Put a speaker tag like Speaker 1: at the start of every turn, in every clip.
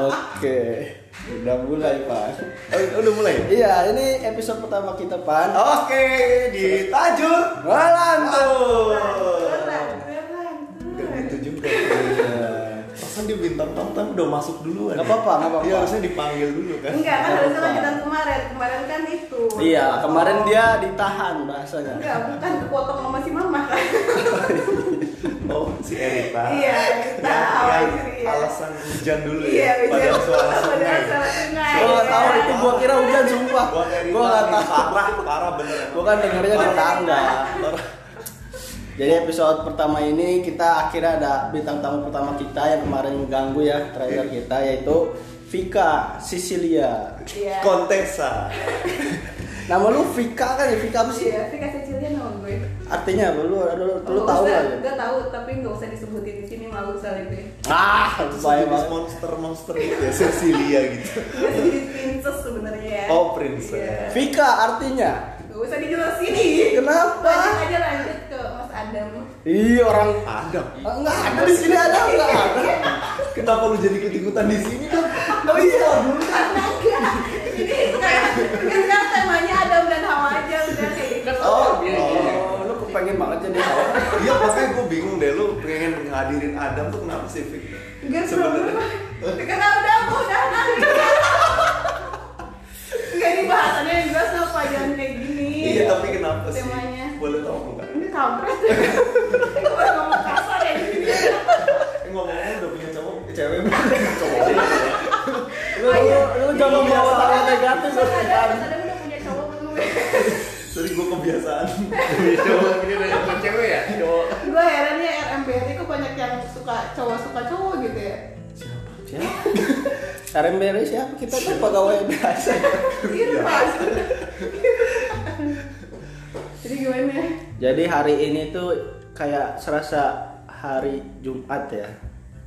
Speaker 1: Oke, udah mulai Pan.
Speaker 2: Oh, udah mulai.
Speaker 1: Iya, ini episode pertama kita Pan.
Speaker 2: Oke, di Tajur Walantur. Udah gitu juga. Masa dia bintang tamu tapi udah masuk duluan.
Speaker 1: Gak apa-apa, gak apa-apa.
Speaker 2: Iya, harusnya dipanggil dulu kan.
Speaker 3: Enggak kan harusnya lanjutan kemarin. Kemarin kan itu.
Speaker 1: Iya, kemarin dia ditahan bahasanya.
Speaker 2: Iya.
Speaker 3: Enggak, bukan kepotong sama si mama kan.
Speaker 2: Oh, si Erita.
Speaker 3: Iya, kita awal
Speaker 2: Yang
Speaker 3: diri, ya.
Speaker 2: alasan hujan dulu
Speaker 3: Iya,
Speaker 2: ya. Padahal
Speaker 3: hujan.
Speaker 2: suara sungai.
Speaker 3: Padahal suara sungai.
Speaker 1: Gua nggak tahu
Speaker 3: Iya.
Speaker 1: itu gua kira hujan sumpah.
Speaker 2: Gua Erita
Speaker 1: Gua nggak
Speaker 2: nih,
Speaker 1: tahu.
Speaker 2: parah, parah beneran.
Speaker 1: Gua kan dengernya di
Speaker 2: Parah.
Speaker 1: tangga.
Speaker 2: Parah.
Speaker 1: Jadi episode pertama ini kita akhirnya ada bintang tamu pertama kita yang kemarin mengganggu ya trailer kita yaitu Vika Sicilia.
Speaker 3: Iya.
Speaker 2: Kontesa.
Speaker 1: Nama lu Vika kan ya Vika apa sih?
Speaker 3: Iya, Vika Cecilia nama gue.
Speaker 1: Artinya apa? Lu lu, lu,
Speaker 3: Nggak
Speaker 1: tahu
Speaker 3: usah,
Speaker 1: nggak ya?
Speaker 3: Nggak tahu, tapi nggak usah disebutin di sini malu soalnya gue.
Speaker 1: Ah,
Speaker 2: Saya
Speaker 1: lumayan banget.
Speaker 2: monster-monster gitu ya, Cecilia gitu.
Speaker 3: Gue sedikit princess sebenarnya ya.
Speaker 2: Oh, princess.
Speaker 3: Iya.
Speaker 1: Vika artinya
Speaker 3: Nggak usah dijelasin.
Speaker 1: Kenapa?
Speaker 3: Lanjut aja lanjut ke Mas Adam.
Speaker 1: Iya orang
Speaker 2: Adam.
Speaker 1: Ah, enggak ada di sini ada enggak ada.
Speaker 2: Kenapa lu jadi ikut-ikutan di sini dong?
Speaker 1: Oh iya.
Speaker 3: Karena enggak. Jadi sekarang, sekarang temanya Adam dan Hawa aja udah kayak gitu.
Speaker 1: Oh, oh, lu kepengen banget jadi hawa.
Speaker 2: Iya makanya gue bingung deh lu pengen ngadirin Adam tuh kenapa sih Fik?
Speaker 3: Enggak
Speaker 2: Sebenarnya.
Speaker 3: sebenarnya. Karena udah aku udah nanti. Enggak ini bahasannya yang jelas apa jangan kayak gini.
Speaker 2: Iya tapi kenapa sih?
Speaker 3: Temanya.
Speaker 2: Boleh tau nggak?
Speaker 3: Ini kampret. Gue udah ngomong kasar ya di sini.
Speaker 2: Eh ngomong-ngomong udah punya cowok, eh, cewek cowok.
Speaker 1: Lu lu, lu jangan
Speaker 2: Oh, Iya,
Speaker 1: bawa hal
Speaker 3: Mas
Speaker 1: negatif lu.
Speaker 3: Adam, Mas Adam udah punya cowok belum?
Speaker 2: Sorry gue kebiasaan.
Speaker 4: cowok ini udah nyampe cewek ya cowok
Speaker 3: Gue herannya RMBT kok banyak yang suka cowok suka cowok gitu ya.
Speaker 1: RMBRI siapa? Kita tuh pegawai biasa.
Speaker 3: Irma.
Speaker 1: Iya.
Speaker 3: Jadi gimana? ya?
Speaker 1: Jadi hari ini tuh kayak serasa hari Jumat ya.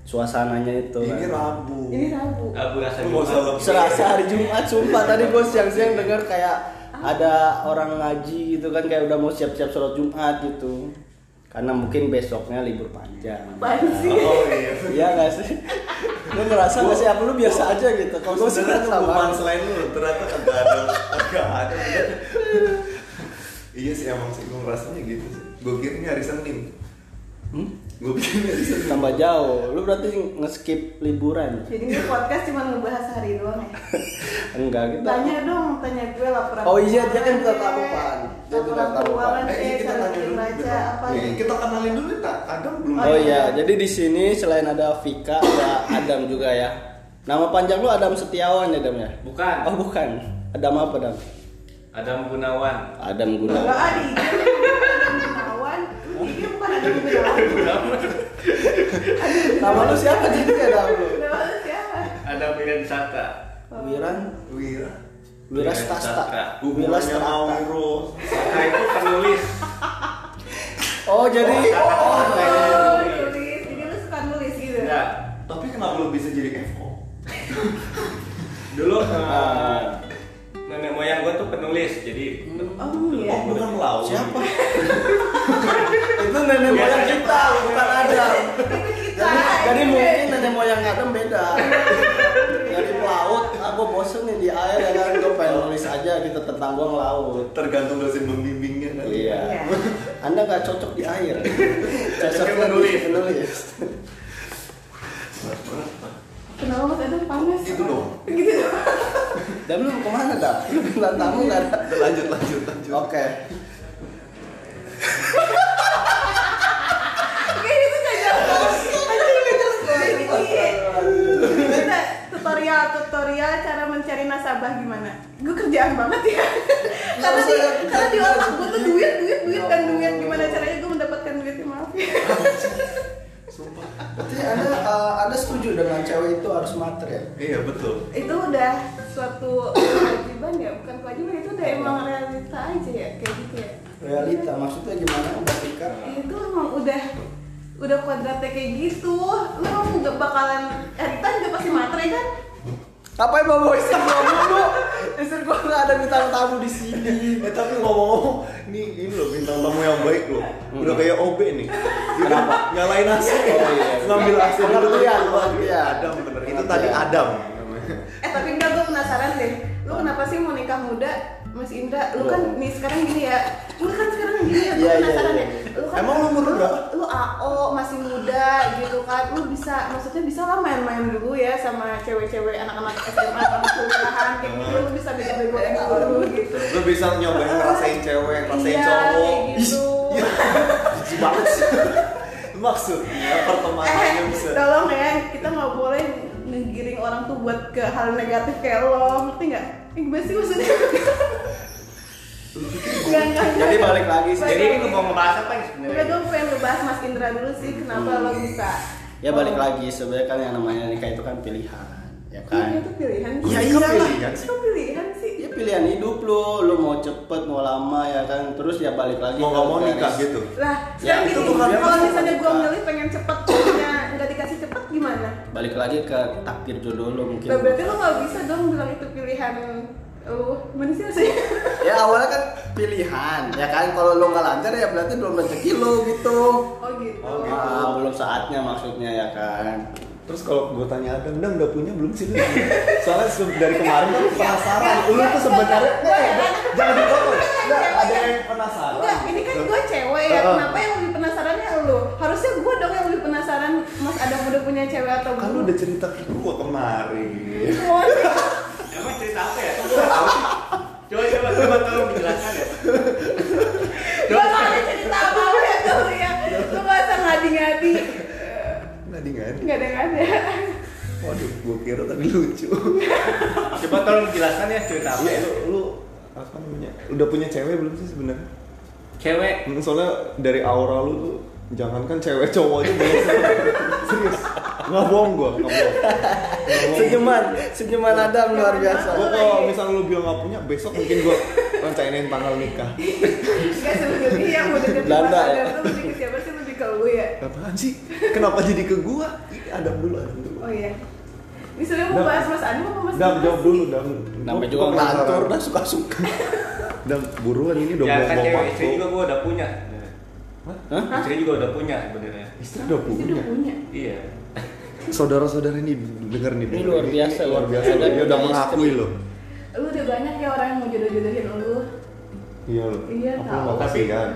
Speaker 1: Suasananya itu.
Speaker 2: Ini
Speaker 1: kan.
Speaker 2: Rabu.
Speaker 3: Ini Rabu.
Speaker 4: aku rasa
Speaker 2: Lu nggak usah lebih.
Speaker 1: Serasa hari Jumat sumpah tadi gue siang-siang denger kayak ada orang ngaji gitu kan kayak udah mau siap-siap sholat Jumat gitu. Karena mungkin besoknya libur panjang.
Speaker 3: Apaan sih?
Speaker 2: Oh iya.
Speaker 1: Iya gak sih? Lu ngerasa gak sih? Apa lu biasa aja gitu? Kalau
Speaker 2: Gue
Speaker 1: gue sih
Speaker 2: sebenarnya
Speaker 1: ngerasa
Speaker 2: bukan
Speaker 1: banget
Speaker 2: selain lu, ternyata kagak ada, kagak ada. Iya sih emang sih gue ngerasanya gitu sih. Gue kira ini hari Senin.
Speaker 1: Hmm?
Speaker 2: Gue pikir ini hari Senin.
Speaker 1: Tambah jauh, lu berarti nge-skip liburan
Speaker 3: Jadi ini podcast cuma ngebahas hari doang ya.
Speaker 1: Enggak gitu
Speaker 3: Tanya dong, tanya gue laporan.
Speaker 1: Oh iya, dia kan
Speaker 3: keuangan,
Speaker 1: bukan tamu, Pan. Dia bukan
Speaker 3: Laporan
Speaker 1: tamu, Pan.
Speaker 3: keuangan
Speaker 2: Eh,
Speaker 3: eh,
Speaker 2: kita
Speaker 3: cara
Speaker 2: tanya
Speaker 3: bikin
Speaker 2: dulu.
Speaker 3: baca
Speaker 2: bentar.
Speaker 3: apa
Speaker 2: Nih,
Speaker 3: gitu.
Speaker 2: Kita kenalin dulu tak Adam belum.
Speaker 1: Oh iya, jadi di sini selain ada Vika ada Adam juga ya Nama panjang lu Adam Setiawan ya Adam ya?
Speaker 4: bukan
Speaker 1: Oh bukan, Adam apa Adam?
Speaker 4: Adam Gunawan
Speaker 1: Adam
Speaker 3: Enggak
Speaker 1: Gunawan
Speaker 3: ada ini bukan gunawan. Ini bukan ada
Speaker 1: Oh,
Speaker 3: gunawan.
Speaker 1: iya. Nama lu siapa jadi Adam lu?
Speaker 3: Gunawan siapa?
Speaker 4: Adam Wiran Sata
Speaker 1: Wiran
Speaker 2: Wira.
Speaker 1: Wira
Speaker 4: Wiran Sastra.
Speaker 1: Stasta Wira
Speaker 2: Hubungannya mau
Speaker 1: Stasta
Speaker 2: Wiro.
Speaker 4: Sata Nah, itu penulis
Speaker 1: Oh jadi
Speaker 4: Oh,
Speaker 3: Oh, nulis. Jadi lu suka nulis gitu.
Speaker 4: ya
Speaker 2: Tapi kenapa lu bisa jadi FO?
Speaker 4: dulu eh, nenek moyang gua tuh penulis jadi
Speaker 3: Oh iya.
Speaker 2: Oh, bukan lau.
Speaker 1: Siapa? Itu nenek moyang kita, bukan Adam
Speaker 3: Itu kita.
Speaker 1: jadi, jadi
Speaker 3: ini.
Speaker 1: mungkin nenek moyang Adam beda dari pelaut aku bosen nih di air ya kan gue pengen nulis aja gitu tentang gue ngelaut
Speaker 2: Tergantung dosen pembimbingnya kali.
Speaker 3: Iya.
Speaker 1: iya anda nggak cocok di air
Speaker 4: Cocoknya
Speaker 1: di
Speaker 4: menulis.
Speaker 1: menulis
Speaker 3: Kenapa Mas Adam panas?
Speaker 2: Gitu dong.
Speaker 3: Gitu dong.
Speaker 1: dan lu kemana dah lu bintang tamu nggak ada
Speaker 2: Udah, Lanjut, lanjut, lanjut.
Speaker 1: oke
Speaker 3: Oke, ini tuh gak jelas banget. Anjing, gak jelas banget. Gimana? tutorial tutorial cara mencari nasabah gimana? Gue kerjaan banget ya. karena di karena di otak gue tuh duit duit duit dan duit gimana caranya gue mendapatkan duit ya, maaf.
Speaker 2: Sumpah.
Speaker 1: berarti anda eh, anda setuju dengan cewek itu harus materi ya?
Speaker 2: Iya betul.
Speaker 3: itu udah suatu kewajiban ya bukan kewajiban itu udah emang realita aja ya kayak gitu ya.
Speaker 1: realita maksudnya gimana udah pikir
Speaker 3: itu emang udah udah kuadratnya kayak gitu lu emang gak bakalan Erita juga pasti materai kan
Speaker 1: apa yang mau istri gue dulu istri gue nggak ada bintang tamu di sini
Speaker 2: Eh tapi ngomong-ngomong, ini ini loh bintang tamu yang baik loh. Udah kayak OB nih. Kenapa? Nyalain AC.
Speaker 1: Oh, iya.
Speaker 2: Ngambil gitu. AC dulu. Iya,
Speaker 1: Pengertian, pengertian.
Speaker 2: Adam bener. Itu tadi Adam. namanya.
Speaker 3: eh tapi enggak gue penasaran deh lu kenapa sih mau nikah muda Mas Indra, lu kan
Speaker 1: Loh.
Speaker 3: nih sekarang gini ya Lu kan sekarang gini ya, gue
Speaker 1: Iya, iya,
Speaker 3: penasaran
Speaker 1: iya.
Speaker 3: ya lu kan,
Speaker 2: Emang lu umur lu berapa?
Speaker 3: Lu AO, masih muda gitu kan Lu bisa, maksudnya bisa lah main-main dulu ya sama cewek-cewek anak-anak SMA Anak kuliahan, kayak gitu Lu bisa bego-begoan dulu gitu
Speaker 2: Lu bisa nyobain ngerasain cewek, ngerasain
Speaker 3: Iya,
Speaker 2: cowok.
Speaker 3: kayak gitu.
Speaker 2: Iya. Jijik banget sih. Maksudnya pertemanannya
Speaker 3: eh,
Speaker 2: bisa.
Speaker 3: tolong ya kita nggak boleh ngegiring orang tuh buat ke hal negatif kayak lo ngerti nggak? Eh, gimana sih maksudnya? Nggak, nggak, nggak.
Speaker 1: Jadi balik lagi sih.
Speaker 4: Jadi ini mau ngebahas apa nih
Speaker 3: Udah
Speaker 4: sebenarnya?
Speaker 3: gue pengen ngebahas Mas Indra dulu sih kenapa lo bisa
Speaker 1: ya balik lagi sebenarnya kan yang namanya nikah itu kan pilihan ya
Speaker 3: Oh. Iya,
Speaker 1: kan
Speaker 3: itu pilihan
Speaker 2: Iya,
Speaker 3: sih.
Speaker 2: iyalah.
Speaker 3: Pilihan sih. Kok pilihan sih?
Speaker 1: ya pilihan hidup lo lo mau cepet mau lama ya kan terus ya balik lagi
Speaker 2: Mau nggak
Speaker 1: ke
Speaker 2: mau
Speaker 1: garis.
Speaker 2: nikah gitu.
Speaker 3: Lah,
Speaker 1: Ya,
Speaker 3: sekarang
Speaker 1: itu
Speaker 3: gini,
Speaker 1: bukan
Speaker 3: kalau
Speaker 1: pilihan.
Speaker 3: misalnya gue milih pengen cepet punya nggak dikasih cepet gimana?
Speaker 1: balik lagi ke takdir jodoh lo mungkin
Speaker 3: Lah, Nah, berarti lo nggak bisa dong bilang itu pilihan lu mana sih maksudnya?
Speaker 1: ya awalnya kan pilihan ya kan kalau lo nggak lancar ya berarti belum rezeki lo gitu
Speaker 3: Oh gitu.
Speaker 2: Oh, gitu.
Speaker 1: Ah, belum saatnya maksudnya ya kan
Speaker 2: Terus kalau gue tanya Adam, Adam udah punya belum sih lu? Soalnya se- dari kemarin tuh penasaran. Lu Kan tuh sebenarnya
Speaker 3: Enggak,
Speaker 2: Eh,
Speaker 3: enggak.
Speaker 2: jangan dipotong. Enggak, ada
Speaker 3: Enggak.
Speaker 2: yang penasaran.
Speaker 3: Enggak, ini kan gue cewek ya.
Speaker 2: Heeh.
Speaker 3: Kenapa yang lebih penasarannya lu? Harusnya gue dong yang lebih penasaran Mas Adam udah punya cewek atau
Speaker 2: Kan lu
Speaker 3: belum?
Speaker 2: udah cerita ke gue kemarin.
Speaker 3: Oh, iya.
Speaker 4: Emang cerita apa ya? Kok gua nggak tahu sih? Coba coba coba tolong dijelaskan ya.
Speaker 3: Gua gak ada cerita apa-apa ya tuh ya Lu gak usah ngadi-ngadi
Speaker 2: Nadi kan?
Speaker 3: Gak ada gak ada
Speaker 2: Waduh, gue kira tadi lucu.
Speaker 4: Coba tolong dijelaskan ya cerita apa
Speaker 2: Iya,
Speaker 4: ya?
Speaker 2: lu, lu apa namanya? Udah punya cewek belum sih sebenarnya?
Speaker 4: Cewek
Speaker 2: Hmm, Soalnya dari aura lu tuh jangankan cewek cowok aja banyak banget. serius nggak bohong gue nggak bohong Nggak bohong.
Speaker 1: senyuman senyuman Adam luar biasa
Speaker 2: Gue kalau misalnya lu bilang nggak punya, besok mungkin gue rencainin tanggal nikah.
Speaker 3: Gak sebenernya yang udah deket Mas
Speaker 1: Belanda ya?
Speaker 3: Adam tuh lebih ke siapa sih? Lebih ke lu ya?
Speaker 2: Apaan sih? Kenapa jadi ke gua? Ih, Adam dulu, Adam dulu.
Speaker 3: Oh iya Ini sebenernya mau
Speaker 2: Dam.
Speaker 3: bahas Mas Adam apa Mas
Speaker 2: Dam,
Speaker 3: Dimas?
Speaker 2: jawab dulu, Dam.
Speaker 1: Namanya
Speaker 2: Gua
Speaker 1: juga
Speaker 2: penasaran.
Speaker 1: ngelantur dah suka-suka.
Speaker 2: Dam, buruan ini udah
Speaker 4: ya
Speaker 2: bawa
Speaker 4: kan
Speaker 2: bawa
Speaker 4: cewek istri juga
Speaker 2: waktu.
Speaker 4: gua udah punya.
Speaker 2: Hah?
Speaker 3: Hah?
Speaker 4: Istri juga udah punya sebenarnya.
Speaker 2: Istri udah
Speaker 3: Dia
Speaker 2: punya.
Speaker 3: udah punya
Speaker 4: Iya.
Speaker 2: Saudara-saudara ini denger nih.
Speaker 1: Ini
Speaker 2: denger.
Speaker 1: luar biasa,
Speaker 2: Ini luar
Speaker 1: luar
Speaker 2: biasa.
Speaker 1: biasa.
Speaker 2: Dia udah
Speaker 1: Ada
Speaker 2: mengakui
Speaker 1: istri.
Speaker 2: loh.
Speaker 3: Lu udah banyak ya orang yang mau jodoh-jodohin lu
Speaker 2: Iya loh.
Speaker 3: Iya
Speaker 2: Aku kan.
Speaker 3: tau
Speaker 2: nggak kasihan.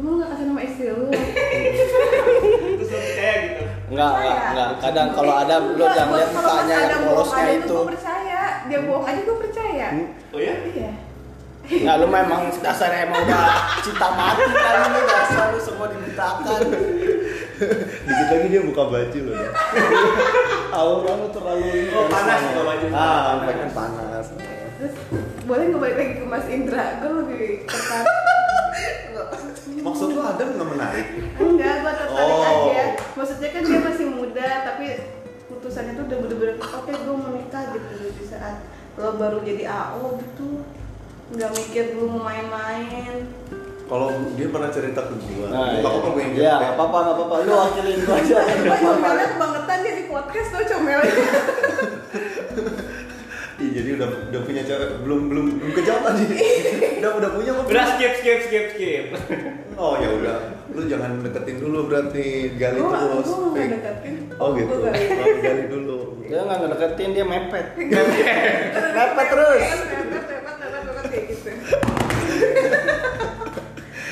Speaker 3: Emang lu gak kasih nama istri lu?
Speaker 4: Terus lu percaya gitu.
Speaker 1: Enggak, enggak,
Speaker 3: Percaya.
Speaker 1: enggak. Kadang kalau ada lo
Speaker 3: Enggak,
Speaker 1: jangan
Speaker 3: gua-
Speaker 1: lihat
Speaker 3: kalau Mas
Speaker 1: mukanya
Speaker 3: Adam
Speaker 1: yang
Speaker 3: bohong
Speaker 1: polosnya
Speaker 3: aja
Speaker 1: itu.
Speaker 3: Gue percaya, dia bohong aja gue percaya.
Speaker 2: Hmm.
Speaker 4: Oh ya?
Speaker 3: Iya.
Speaker 1: Enggak, ya lu memang dasarnya emang udah cinta mati kan ini dasar lu semua dibutakan.
Speaker 2: Dikit lagi dia buka baju loh. dia. Aura lu terlalu ini.
Speaker 4: Oh, panas buka baju.
Speaker 2: Ah, pengen panas.
Speaker 1: Nah,
Speaker 3: Terus boleh nggak balik lagi ke Mas Indra? Gue lebih tertarik.
Speaker 2: Maksud lu Adam nggak menarik?
Speaker 3: Enggak, gue tertarik
Speaker 2: Oh.
Speaker 3: aja. Maksudnya kan dia masih muda, tapi putusannya tuh udah bener-bener oke gue mau nikah gitu di saat lo baru jadi AO gitu nggak mikir lu mau main-main
Speaker 2: Kalau dia pernah cerita ke gua,
Speaker 1: Nah,
Speaker 2: aku mau
Speaker 1: ya,
Speaker 2: pengen jawab.
Speaker 1: enggak apa-apa, enggak apa-apa. Lu wakilin gua aja.
Speaker 3: gue
Speaker 1: Enggak apa-apa.
Speaker 3: comelnya kebangetan dia di podcast tuh comelnya
Speaker 2: Iya, jadi udah udah punya cewek, belum belum belum kejawab tadi. udah udah punya kok.
Speaker 4: Udah skip skip skip skip.
Speaker 2: Oh ya udah, lu jangan deketin dulu berarti gali
Speaker 3: Gua nggak-
Speaker 2: terus.
Speaker 3: gua nggak
Speaker 2: Pik.
Speaker 3: deketin.
Speaker 2: Oh gitu,
Speaker 3: Gua gali. Iya,
Speaker 2: Oh, gali dulu.
Speaker 1: Dia enggak ngedeketin, dia mepet.
Speaker 3: Mepet
Speaker 1: terus.
Speaker 3: Mepet, mepet, mepet, mepet kayak gitu.
Speaker 2: Eh.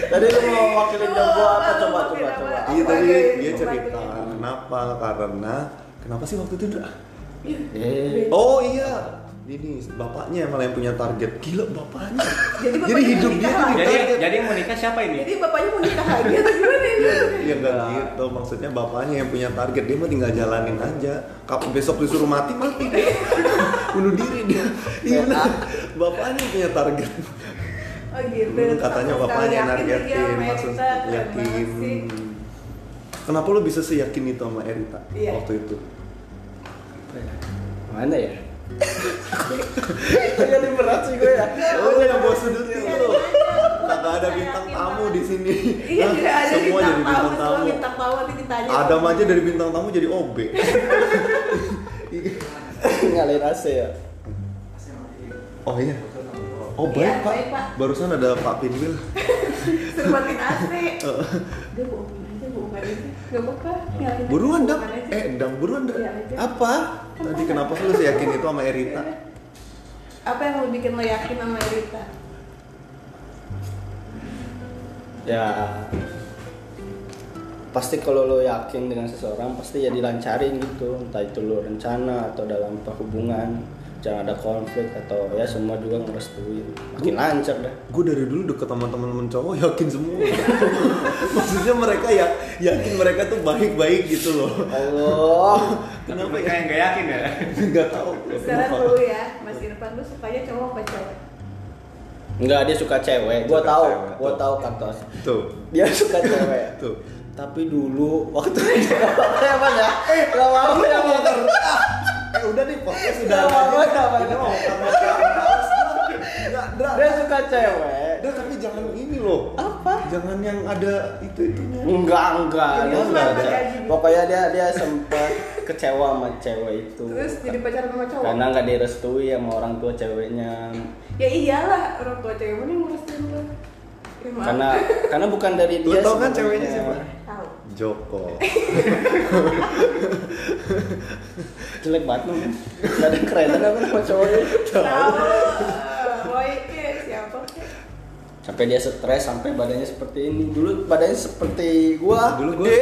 Speaker 1: Tadi lu mau wakilin jawab gua apa coba coba coba.
Speaker 2: Iya
Speaker 3: Apa
Speaker 2: tadi
Speaker 3: aja
Speaker 2: dia,
Speaker 3: yang
Speaker 2: dia
Speaker 3: lu
Speaker 2: cerita
Speaker 3: bantuin?
Speaker 2: kenapa karena kenapa sih waktu itu udah
Speaker 1: Eh.
Speaker 2: Oh iya, ini bapaknya malah yang punya target. Gila bapaknya.
Speaker 3: Jadi bapaknya
Speaker 2: hidup
Speaker 3: nikah
Speaker 2: dia tuh
Speaker 3: lagi.
Speaker 4: jadi
Speaker 2: ditarget.
Speaker 4: jadi yang mau nikah siapa
Speaker 3: iya. Jadi
Speaker 4: ini?
Speaker 3: bapaknya mau nikah lagi atau gimana ini?
Speaker 2: Iya nggak gitu, maksudnya bapaknya yang punya target dia mah tinggal jalanin aja. Kapan besok disuruh mati mati dia, bunuh diri dia. Iya benar. bapaknya yang punya target.
Speaker 3: Oh gitu.
Speaker 2: Hmm, katanya
Speaker 3: Sama
Speaker 2: bapaknya yang
Speaker 3: sekali yakin dia
Speaker 2: nargetin,
Speaker 3: sama
Speaker 2: maksud
Speaker 3: Erita, keren
Speaker 2: yakin. Ya
Speaker 3: banget sih.
Speaker 2: Kenapa lo bisa seyakin itu sama Erita
Speaker 3: Iya.
Speaker 2: waktu itu?
Speaker 1: Mana ya? Jadi berat sih gue ya.
Speaker 3: Iya.
Speaker 2: Lo yang bawa sudutnya lo. Kagak ada
Speaker 3: Saya
Speaker 2: bintang
Speaker 3: Iya, yakin
Speaker 2: tamu
Speaker 3: banget.
Speaker 2: di sini.
Speaker 3: Iya,
Speaker 2: Nah,
Speaker 3: tidak ada
Speaker 2: semua jadi bintang
Speaker 3: semua
Speaker 2: tamu.
Speaker 3: bintang tamu nanti ditanya.
Speaker 2: Adam aja dari bintang tamu jadi OB.
Speaker 1: Nyalain AC ya.
Speaker 2: Oh iya. Oh baik,
Speaker 3: Iya,
Speaker 2: pak.
Speaker 3: baik, Pak.
Speaker 2: Barusan ada Pak Pinwil.
Speaker 3: Suruh matiin AC. Dia bohongin aja, bohongin Gak apa-apa. nyalain aja.
Speaker 2: Buruan dam,
Speaker 3: Bukan aja.
Speaker 2: eh dam buruan dam.
Speaker 3: Iya aja.
Speaker 1: Apa?
Speaker 2: Tadi kenapa lu seyakin itu sama Erita?
Speaker 3: Apa yang lo bikin lo yakin sama Rita?
Speaker 1: Ya pasti kalau lo yakin dengan seseorang pasti ya dilancarin gitu entah itu lo rencana atau dalam perhubungan jangan ada konflik atau ya semua juga ngerestuin makin lancar dah
Speaker 2: Gue dari dulu deket sama teman-teman cowok yakin semua. Maksudnya mereka ya yakin mereka tuh baik-baik gitu loh.
Speaker 1: Allah
Speaker 4: Kenapa
Speaker 2: Kenapa
Speaker 4: mereka
Speaker 2: ya?
Speaker 4: yang gak yakin ya?
Speaker 2: Gak tau.
Speaker 3: Sekarang dulu ya, Mas Irfan lu sukanya cowok apa cewek?
Speaker 1: Enggak dia suka cewek gua
Speaker 2: Suka
Speaker 1: tahu
Speaker 2: cewek,
Speaker 1: gua
Speaker 2: tuh.
Speaker 1: tahu kantos
Speaker 2: Tuh,
Speaker 1: dia suka cewek
Speaker 2: tuh.
Speaker 1: tapi dulu waktu itu apa ya eh gak mau ya mau
Speaker 2: Eh udah nih podcast udah.
Speaker 1: Gak apa-apa, gak apa-apa.
Speaker 2: Ini mau Enggak,
Speaker 1: dia suka cewek
Speaker 2: Udah tapi jangan ini loh.
Speaker 1: Apa?
Speaker 2: Jangan yang ada itu itunya.
Speaker 1: enggak enggak
Speaker 3: Jadi
Speaker 1: dia
Speaker 3: lu
Speaker 1: enggak
Speaker 3: pakai
Speaker 1: ada.
Speaker 3: LGBT.
Speaker 1: pokoknya dia dia sempat kecewa sama cewek itu
Speaker 3: Terus jadi pacaran sama cowok?
Speaker 1: karena nggak direstui sama orang tua ceweknya
Speaker 3: Ya iyalah, orang tua cewek mana yang ngurusin lo? Ya, maaf.
Speaker 1: karena karena bukan dari
Speaker 2: Lu
Speaker 1: dia
Speaker 2: tau
Speaker 1: sebenarnya.
Speaker 2: kan ceweknya siapa?
Speaker 3: Tahu.
Speaker 2: Joko.
Speaker 1: jelek banget lu men. nggak ada keren apa sama cowoknya
Speaker 3: Tahu. Boy, eh, siapa? kek?
Speaker 1: sampai dia stres sampai badannya seperti ini dulu badannya seperti gua
Speaker 2: dulu gue
Speaker 1: gede.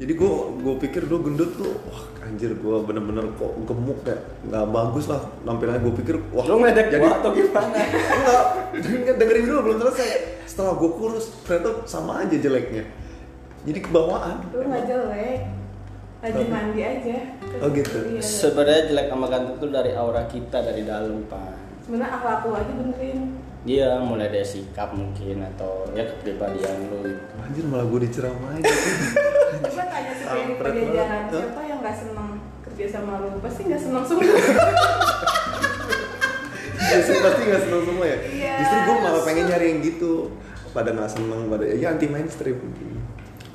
Speaker 2: jadi gue gue pikir gue gendut tuh wah anjir gue bener-bener kok gemuk ya nggak bagus lah tampilannya gue pikir wah
Speaker 1: lu ngedek
Speaker 2: jadi
Speaker 1: gua atau gimana
Speaker 2: enggak Dengar- dengerin dulu belum selesai setelah gue kurus ternyata sama aja jeleknya jadi kebawaan
Speaker 3: Lu nggak jelek. Rajin
Speaker 2: Tapi-
Speaker 3: mandi aja.
Speaker 2: Oh, gitu.
Speaker 3: Iya.
Speaker 1: sebenarnya jelek sama ganteng tuh dari aura kita dari dalam pak
Speaker 3: Sebenarnya akhlak lu aja benerin.
Speaker 1: dia mulai dari sikap mungkin atau ya kepribadian lu gitu.
Speaker 2: anjir malah Iya, gue diceramain
Speaker 3: Coba tanya sih yang di
Speaker 2: Kampret banget.
Speaker 3: pajajaran
Speaker 2: Hah?
Speaker 3: siapa yang nggak seneng kerja sama lu? Pasti nggak seneng semua.
Speaker 2: justru pasti nggak seneng semua ya
Speaker 3: Iya.
Speaker 2: justru gue malah pengen nyari yang gitu pada nggak seneng pada ya anti mainstream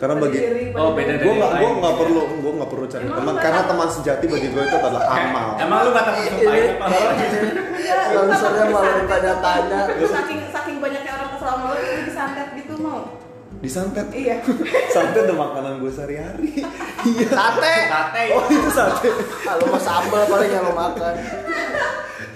Speaker 2: karena
Speaker 3: Pada
Speaker 2: bagi
Speaker 3: diri, pada
Speaker 4: Oh, beda
Speaker 3: diri.
Speaker 4: dari
Speaker 2: gue nggak gue
Speaker 4: lain.
Speaker 2: nggak perlu gue nggak perlu cari
Speaker 3: Emang
Speaker 2: teman
Speaker 3: lu
Speaker 2: karena
Speaker 3: nggak-
Speaker 2: teman sejati bagi gue itu adalah amal
Speaker 4: Emang lu kata kesumpahin apa?
Speaker 3: Enggak, lu
Speaker 1: Langsungnya
Speaker 3: sama
Speaker 1: malah
Speaker 3: disantet.
Speaker 1: ditanya-tanya.
Speaker 3: Saking saking banyaknya orang kesel sama lu, lu disantet gitu mau.
Speaker 2: disantet
Speaker 3: Iya.
Speaker 2: santet udah makanan gue sehari-hari iya
Speaker 1: sate
Speaker 4: Sate. ya.
Speaker 2: oh itu sate
Speaker 1: kalau mau sambal paling yang lo makan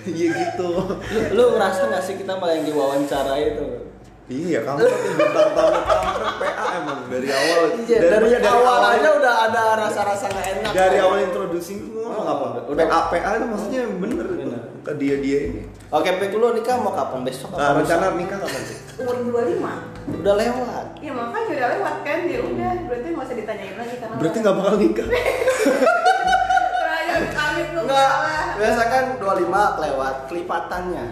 Speaker 2: iya gitu
Speaker 1: lu, lu ngerasa nggak sih kita malah yang diwawancara itu
Speaker 2: iya kamu tuh bintang tamu kampret PA emang dari awal
Speaker 1: iya, dari, awal aja udah ada rasa-rasa nggak enak
Speaker 2: dari awal introducing lu ngomong
Speaker 1: Oh,
Speaker 2: apa
Speaker 1: udah-
Speaker 2: PA PA itu maksudnya yang bener
Speaker 1: Bener.
Speaker 2: ke dia dia ini
Speaker 1: oke pik lu nikah mau kapan besok apa
Speaker 2: nah,
Speaker 1: besok?
Speaker 2: rencana nikah kapan sih
Speaker 3: Umur 25.
Speaker 1: udah lewat
Speaker 3: Ya makanya udah lewat kan ya udah berarti nggak usah ditanyain lagi karena
Speaker 2: berarti nggak bakal nikah
Speaker 3: terakhir kami tuh
Speaker 1: enggak
Speaker 3: salah
Speaker 1: biasa kan 25 lewat kelipatannya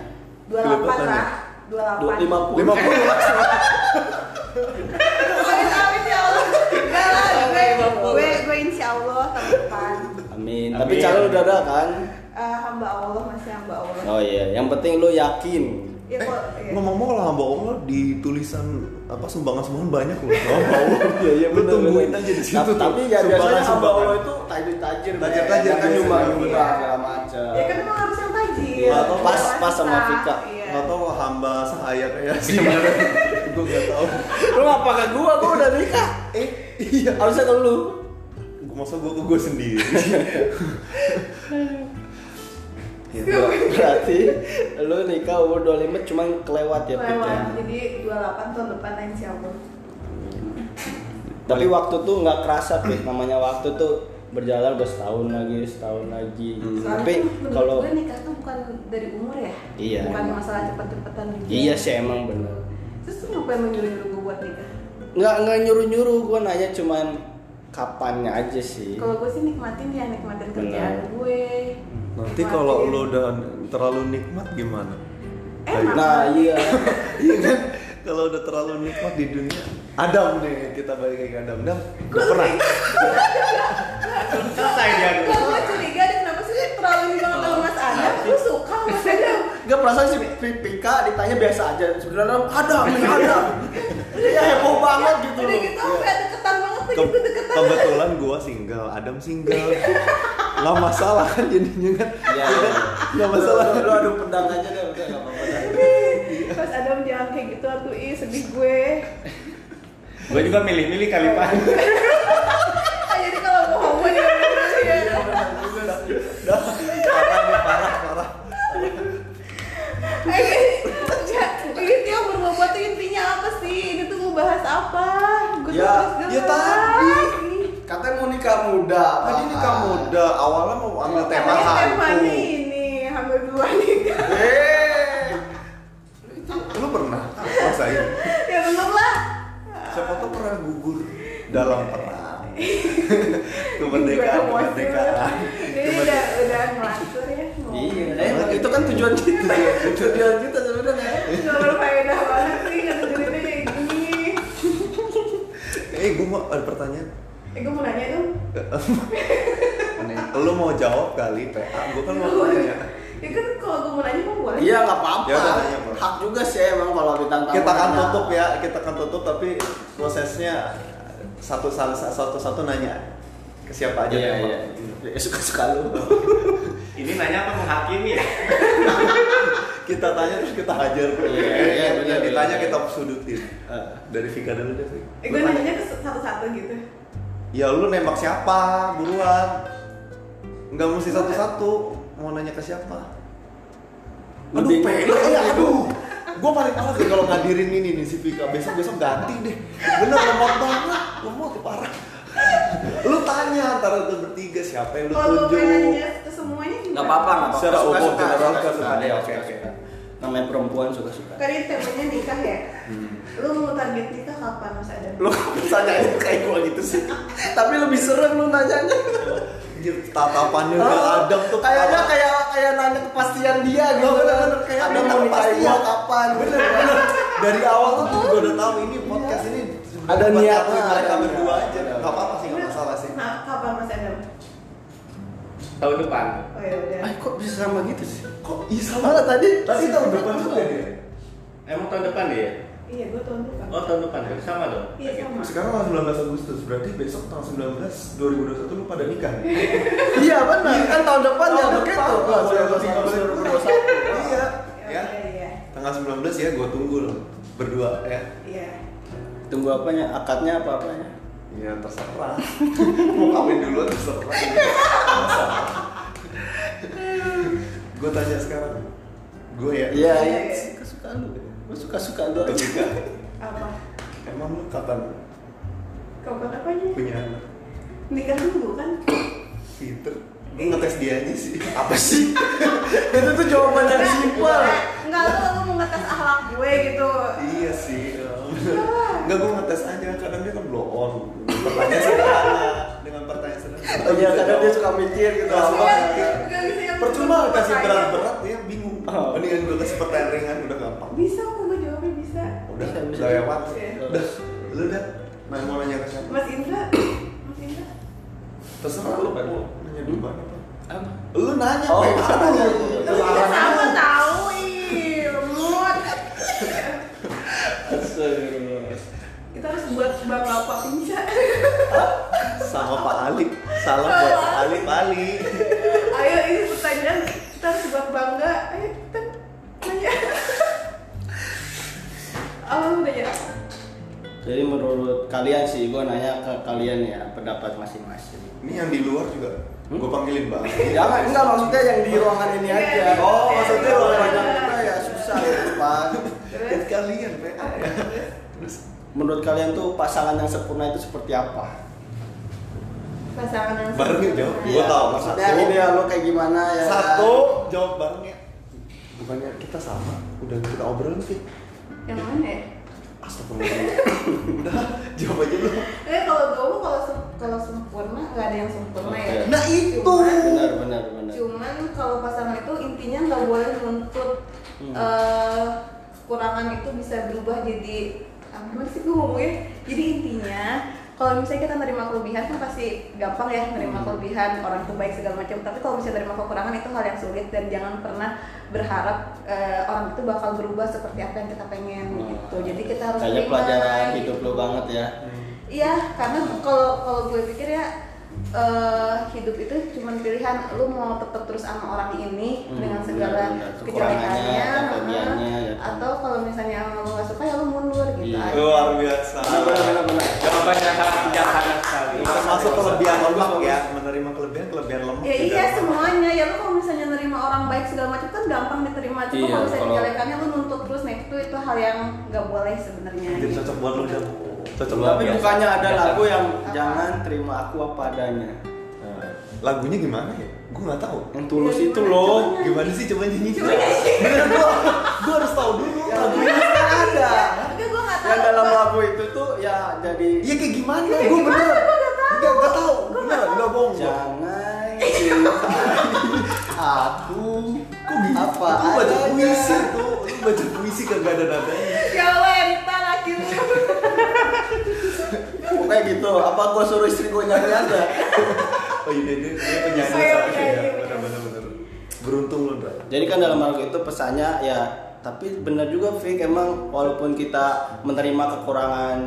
Speaker 3: dua delapan
Speaker 2: Kelipatannya.
Speaker 3: lah dua delapan
Speaker 1: 50
Speaker 2: lima puluh
Speaker 3: insya ya Allah enggak lah gue gue gue insya Allah tahun depan
Speaker 1: amin
Speaker 4: Amin.
Speaker 1: tapi calon udah ada kan
Speaker 3: Eh, hamba Allah masih hamba Allah
Speaker 1: oh iya yang penting lu yakin
Speaker 3: ya
Speaker 2: Eh,
Speaker 3: kok ya.
Speaker 2: ngomong-ngomong kalau hamba Allah di tulisan apa sumbangan sumbangan banyak loh hamba Allah
Speaker 1: Iya iya
Speaker 2: Lu tungguin aja di situ
Speaker 1: Tapi,
Speaker 2: tuh,
Speaker 1: tapi ya biasanya hamba
Speaker 2: sumbangan-sumbangan.
Speaker 1: Allah itu tajir-tajir.
Speaker 2: Tajir-tajir
Speaker 1: kan
Speaker 2: biasanya.
Speaker 1: cuma cuma
Speaker 3: Iya.
Speaker 1: segala macam.
Speaker 3: ya kan emang harus yang tajir
Speaker 2: Nggak tahu,
Speaker 1: pas-
Speaker 3: Yang
Speaker 1: pas sama
Speaker 3: wanita.
Speaker 1: Vika.
Speaker 3: Iya.
Speaker 2: Gak tau hamba sahaya kayak sih Gue gak tau
Speaker 1: Lu ngapa ke gua? Gua udah nikah.
Speaker 2: Eh iya
Speaker 1: Harusnya ke lu.
Speaker 2: Masa gue ke gue sendiri ya,
Speaker 1: Ber- Berarti lu nikah umur 25 cuma kelewat ya Pik, ya.
Speaker 3: lewat jadi dua delapan tahun depan lah, insya Allah
Speaker 1: Tapi waktu tuh nggak kerasa Pik. namanya waktu tuh berjalan udah setahun lagi, setahun lagi.
Speaker 2: Hmm.
Speaker 3: Soalnya
Speaker 1: Tapi
Speaker 3: tuh menurut
Speaker 1: kalau
Speaker 3: gue nikah tuh bukan dari umur ya
Speaker 1: Iya.
Speaker 3: bukan masalah cepet-cepetan juga
Speaker 1: iya sih emang bener.
Speaker 3: terus lu ngapain lu nyuruh-nyuruh gue buat nikah
Speaker 1: Nggak nggak nyuruh-nyuruh gua nanya cuman kapannya aja sih.
Speaker 3: kalau gue sih nikmatin ya nikmatin
Speaker 1: Benar.
Speaker 3: kerjaan gue nikmatin-
Speaker 2: Nanti
Speaker 3: Eh,
Speaker 2: kalau lo udah terlalu nikmat gimana?
Speaker 3: Enak.
Speaker 1: Nah, iya.
Speaker 2: Iya kan? Kalau udah terlalu nikmat di dunia Adam nih, kita balik lagi ke Adam Adam, udah pernah?
Speaker 4: Belum selesai
Speaker 1: iya.
Speaker 4: dia
Speaker 3: Enggak, gue curiga deh kenapa sih lu terlalu ini banget sama Mas Adam Lu suka sama Mas Adam
Speaker 1: Gak perasaan sih Pi- Pika ditanya biasa aja. Sebenarnya ada, ada. Dia heboh banget gitu.
Speaker 3: Udah gitu sampe deketan banget tuh
Speaker 2: Ke-
Speaker 3: gitu deketan
Speaker 2: kebetulan gua single, Adam single Gak masalah kan jadinya kan
Speaker 1: Iya.
Speaker 2: Gak masalah
Speaker 1: Lu adu pedang aja deh udah enggak apa-apa.
Speaker 3: Mas Adam jangan kayak gitu atuh ih sedih gue
Speaker 4: Gue juga milih-milih kali pak.
Speaker 3: Ah, jadi kalau mau homo ya bener-bener
Speaker 2: Iya,
Speaker 3: ya.
Speaker 2: Dah, parah nih, parah, parah.
Speaker 3: Eh, ini- ini tuh yang berbobot tuh intinya apa sih? Ini tuh mau bahas apa? Gue
Speaker 2: Ya, ya tadi.
Speaker 5: Katanya mau nikah muda.
Speaker 2: Tadi
Speaker 5: apaan?
Speaker 2: nikah muda, awalnya mau ambil tema
Speaker 3: Iya, Tema
Speaker 2: hantu.
Speaker 3: nih ini hamil dua nikah.
Speaker 2: Eh, lu pernah rasain?
Speaker 3: Ya belum lah.
Speaker 2: Siapa tuh pernah gugur dalam perang? kemerdekaan,
Speaker 3: Gimana mau sih?
Speaker 2: kemerdekaan.
Speaker 3: Jadi udah udah ngelantur ya. ngomong.
Speaker 5: Iya,
Speaker 2: Eh, itu kan tujuan kita.
Speaker 3: Iya.
Speaker 5: tujuan kita sebenarnya.
Speaker 3: Gak berfaedah banget sih ngedengerin kayak gini.
Speaker 2: Eh, gue mau ada pertanyaan.
Speaker 3: Eh, gue mau nanya dong.
Speaker 2: Lu mau jawab kali, PA? Gue kan mau tanya.
Speaker 3: Ya kan kalau gue mau nanya gue boleh.
Speaker 5: Iya nggak apa-apa.
Speaker 2: Ya udah, tanya, Bro.
Speaker 5: Hak juga sih emang kalau bintang tamu
Speaker 2: Kita akan
Speaker 5: nanya.
Speaker 2: tutup ya, kita akan tutup tapi prosesnya satu satu satu, satu nanya ke siapa aja.
Speaker 1: Iya,
Speaker 2: Pak.
Speaker 1: iya.
Speaker 5: Ya suka-suka lu.
Speaker 4: Ini nanya apa menghakimi ya?
Speaker 2: Kita tanya terus kita hajar.
Speaker 1: Iya, iya, benar,
Speaker 2: Yang ditanya
Speaker 1: benar. Ah.
Speaker 2: kita sudutin. Dari Vika dulu deh, Vika.
Speaker 3: Eh, gue nanyanya ke satu-satu gitu.
Speaker 2: Ya lu nembak siapa? Buruan. Nggak mesti satu-satu. Mau nanya ke siapa? Aduh,
Speaker 1: Mending-
Speaker 2: pelek ya, aduh. Gue paling males deh kalau ngadirin ini nih si Vika. Besok-besok ganti deh. Bener lemot banget, lemot parah. lu tanya antara lu bertiga siapa yang lu
Speaker 3: Kalau gue Oh, pengen
Speaker 2: tunjuk.
Speaker 3: nanya ke semuanya gimana?
Speaker 5: Nggak apa-apa nggak apa-apa.
Speaker 2: Secara
Speaker 5: Suka-suka,
Speaker 2: umum, general,
Speaker 5: suka-suka.
Speaker 2: suka-suka.
Speaker 5: Iya,
Speaker 2: Oke, oke.
Speaker 5: suka-suka.
Speaker 1: namanya perempuan suka-suka
Speaker 3: Kan ini temanya nikah ya.
Speaker 1: Hmm.
Speaker 3: Lu mau target nikah kapan Mas Adam?
Speaker 5: Lu pertanyaannya kayak gua gitu sih. Tapi lebih serem lu nanyanya. Ah,
Speaker 2: Anjir, Tatapannya udah adem
Speaker 5: Oh,
Speaker 2: tuh.
Speaker 5: Kayaknya kayak kayak nanya kepastian dia gitu.
Speaker 2: bener-bener kayak
Speaker 5: Ada
Speaker 2: nanya
Speaker 5: mau nikah
Speaker 2: kepastian.
Speaker 5: gua kapan?
Speaker 2: Bener, bener. Dari awal tuh gue juga udah tahu ini podcast ini
Speaker 5: Ada Iya.
Speaker 2: buat
Speaker 5: niatnya,
Speaker 2: ngakuin mereka
Speaker 5: ada
Speaker 2: berdua
Speaker 5: niat.
Speaker 2: aja. Gak apa-apa sih, gak masalah sih.
Speaker 3: Nah, kapan Mas Adam?
Speaker 4: Tahun depan.
Speaker 3: Oh ya udah.
Speaker 1: Ay, kok bisa sama gitu sih
Speaker 2: Kok bisa
Speaker 5: Malah tadi
Speaker 2: Tadi tahun depan juga ya?
Speaker 4: Emang tahun depan ya?
Speaker 3: Iya, gue tahun depan.
Speaker 4: Oh tahun depan ya? sama dong.
Speaker 3: Iya sama.
Speaker 2: Sekarang tanggal 19 Agustus, berarti besok tanggal 19 2021 lu pada nikah ya?
Speaker 5: Iya benar. Kan tahun depan ya
Speaker 2: Oh, Tahun
Speaker 5: begitu.
Speaker 2: depan, Iya,
Speaker 5: Wah,
Speaker 2: boleh
Speaker 5: sudah
Speaker 2: tinggal
Speaker 5: bersama, sudah
Speaker 2: berdua.
Speaker 5: bersama.
Speaker 2: Iya,
Speaker 3: Ya,
Speaker 2: ya.
Speaker 3: udah, Iya.
Speaker 2: Tanggal 19 ya, gua tunggu lo berdua ya.
Speaker 3: Iya.
Speaker 1: tunggu apanya akadnya apa apanya
Speaker 2: Ya
Speaker 5: Iya,
Speaker 2: terserah. Mau kawin duluan terserah. Terserah. Gua tanya sekarang. Gua ya.
Speaker 1: iya
Speaker 3: Iya,
Speaker 1: iya
Speaker 3: iya.
Speaker 1: suka-suka lu gua suka-suka lu
Speaker 2: Lu
Speaker 1: aja
Speaker 2: nikah.
Speaker 3: Apa?
Speaker 2: Emang lu kapan
Speaker 3: Kapan apanya?
Speaker 2: punya anak?
Speaker 3: Nikah dulu kan?
Speaker 2: Pinter. Gua ngetes dia aja sih.
Speaker 5: Apa sih? Itu tuh jawaban yang simpel.
Speaker 3: Enggak, lu lu mau ngetes akhlak gue gitu.
Speaker 2: Iya sih. ya. Enggak gue ngetes aja kadang dia kan blow on. Pertanyaan sederhana dengan pertanyaan sederhana.
Speaker 5: Oh iya, kadang dia suka mikir gitu.
Speaker 2: Nggak
Speaker 5: Apa?
Speaker 3: Iya,
Speaker 2: ya.
Speaker 3: nggak bisa yang
Speaker 2: Percuma
Speaker 3: betul-betul
Speaker 2: kasih
Speaker 3: pertanyaan.
Speaker 2: berat-berat dia bingung.
Speaker 1: Oh.
Speaker 2: Mendingan gue kasih pertanyaan ringan udah gampang.
Speaker 3: Bisa kok gue jawabnya bisa.
Speaker 2: Udah
Speaker 1: Bisa, bisa.
Speaker 2: udah lewat.
Speaker 3: Iya.
Speaker 2: Udah lu udah main mau nanya ke siapa?
Speaker 3: Mas Indra. Mas Indra.
Speaker 2: Terserah lu kan mau nanya duluan apa?
Speaker 1: apa
Speaker 2: Lu nanya
Speaker 5: Oh,
Speaker 2: Pak.
Speaker 5: iya.
Speaker 2: Aduh.
Speaker 5: Iya.
Speaker 3: Lu juga sama tahu, ih. Lemot. Kita harus buat Bang Bapak pingsan.
Speaker 2: Sama Pak Alip. Salam
Speaker 3: Sama
Speaker 2: buat
Speaker 3: Alip.
Speaker 2: Alip Alip.
Speaker 3: Ayo ini pertanyaan kita harus buat bangga. Ayo kita nanya. Apa lu nanya?
Speaker 1: jadi menurut kalian sih gua nanya ke kalian ya pendapat masing-masing
Speaker 2: Ini yang di luar juga.
Speaker 1: Hmm?
Speaker 2: Gue panggilin Bang.
Speaker 5: Jangan, enggak maksudnya yang di ruangan ini
Speaker 3: Iya,
Speaker 5: aja.
Speaker 3: iya.
Speaker 5: Oh, maksudnya
Speaker 3: Iya,
Speaker 5: ruangan
Speaker 3: iya.
Speaker 5: kita ya susah gitu kan.
Speaker 2: Dan kalian PA ya.
Speaker 1: menurut kalian tuh pasangan yang sempurna itu seperti apa
Speaker 3: Pasangan yang
Speaker 2: Baru nih, jawab.
Speaker 3: sempurna.
Speaker 2: Gua tahu,
Speaker 1: maksudnya
Speaker 2: satu.
Speaker 1: ideal lu kayak gimana ya
Speaker 2: Satu jawab ya. barengnya. Bukannya kita sama, udah kita obrolin sih.
Speaker 3: Yang mana ya?
Speaker 2: Astagfirullah. udah, jawab aja lu.
Speaker 3: Eh kalau gue mah kalau sem- kalau sempurna nggak ada yang sempurna ya.
Speaker 1: Oke.
Speaker 2: Nah, itu.
Speaker 3: Cuman-
Speaker 1: benar benar benar
Speaker 3: Cuman kalau pasangan itu intinya nggak boleh menuntut
Speaker 1: Hmm.
Speaker 3: eh, kekurangan itu bisa berubah jadi ah, gimana sih gue ngomongnya? Jadi intinya kalau misalnya kita nerima kelebihan kan pasti gampang ya
Speaker 1: Hmm.
Speaker 3: nerima kelebihan orang itu baik segala macam. Tapi kalau misalnya nerima kekurangan itu hal yang sulit dan jangan pernah berharap eh, orang itu bakal berubah seperti apa yang kita pengen gitu. Jadi kita harus
Speaker 1: Hmm. kayaknya
Speaker 3: terima.
Speaker 1: Nah, pelajaran hidup lu banget ya
Speaker 3: Iya, karena kalau kalau gue pikir ya eh, hidup itu cuma pilihan. Lu mau tetap terus sama orang ini
Speaker 1: Hmm,
Speaker 3: dengan
Speaker 1: benar,
Speaker 3: segala
Speaker 1: benar. Kekurangannya,
Speaker 3: kejelekannya,
Speaker 1: kelebihannya,
Speaker 3: heeh.
Speaker 1: ya kan.
Speaker 3: atau kalau misalnya emang lu nggak suka ya lu mundur gitu
Speaker 1: Iya.
Speaker 3: aja.
Speaker 2: Luar biasa.
Speaker 1: benar benar benar
Speaker 4: jawaban yang sangat bijaksana sekali.
Speaker 2: Termasuk kelebihan lemak ya, menerima kelebihan kelebihan lemak.
Speaker 3: ya
Speaker 2: juga.
Speaker 3: iya semuanya ya lu kalau misalnya nerima orang baik segala macam kan gampang diterima cuma
Speaker 1: Iya,
Speaker 3: kalau misalnya
Speaker 1: kalau-
Speaker 3: dijelekannya lu nuntut terus nah itu itu hal yang nggak boleh sebenarnya gitu.
Speaker 2: Jadi cocok buat lu Jam. Cocok
Speaker 1: Tapi
Speaker 2: banget. Iya.
Speaker 1: bukannya ada
Speaker 4: Biasa.
Speaker 1: lagu yang jangan terima aku apa adanya.
Speaker 2: Nah, Lagunya gimana ya? Gue nggak tahu.
Speaker 1: Yang tulus
Speaker 3: Iya,
Speaker 1: itu
Speaker 3: gimana,
Speaker 1: loh.
Speaker 2: Gimana sih coba nyanyi?
Speaker 3: Coba nyanyi.
Speaker 2: Bener, gua, gua harus tahu dulu lagunya.
Speaker 1: Lagunya kan ada.
Speaker 3: tapi gue nggak tahu
Speaker 1: Yang dalam
Speaker 3: Pak.
Speaker 1: lagu itu tuh ya jadi
Speaker 2: Iya kayak gimana?
Speaker 3: Kayak
Speaker 2: Gue
Speaker 3: gimana?
Speaker 2: bener.
Speaker 3: Gua nggak tahu.
Speaker 2: Nggak- nggak tahu.
Speaker 3: Gua nggak
Speaker 2: Bener, nggak bohong. gua.
Speaker 1: jangan cintai aku
Speaker 2: Kok gitu?
Speaker 1: apa
Speaker 2: Itu baca
Speaker 1: adanya.
Speaker 2: puisi tuh. Itu baca puisi kagak ada nadanya.
Speaker 3: ya lenta akhirnya
Speaker 1: Pokoknya gitu. Apa gua suruh istri gua nyanyi aja?
Speaker 2: Oh iya dia, dia penyanyi
Speaker 3: Saya
Speaker 2: sama
Speaker 3: penyanyi,
Speaker 2: ya. Bener
Speaker 3: penyanyi.
Speaker 2: bener bener. Beruntung lu Ndra.
Speaker 1: Jadi kan dalam lagu itu pesannya ya tapi benar juga Fik emang walaupun kita menerima kekurangan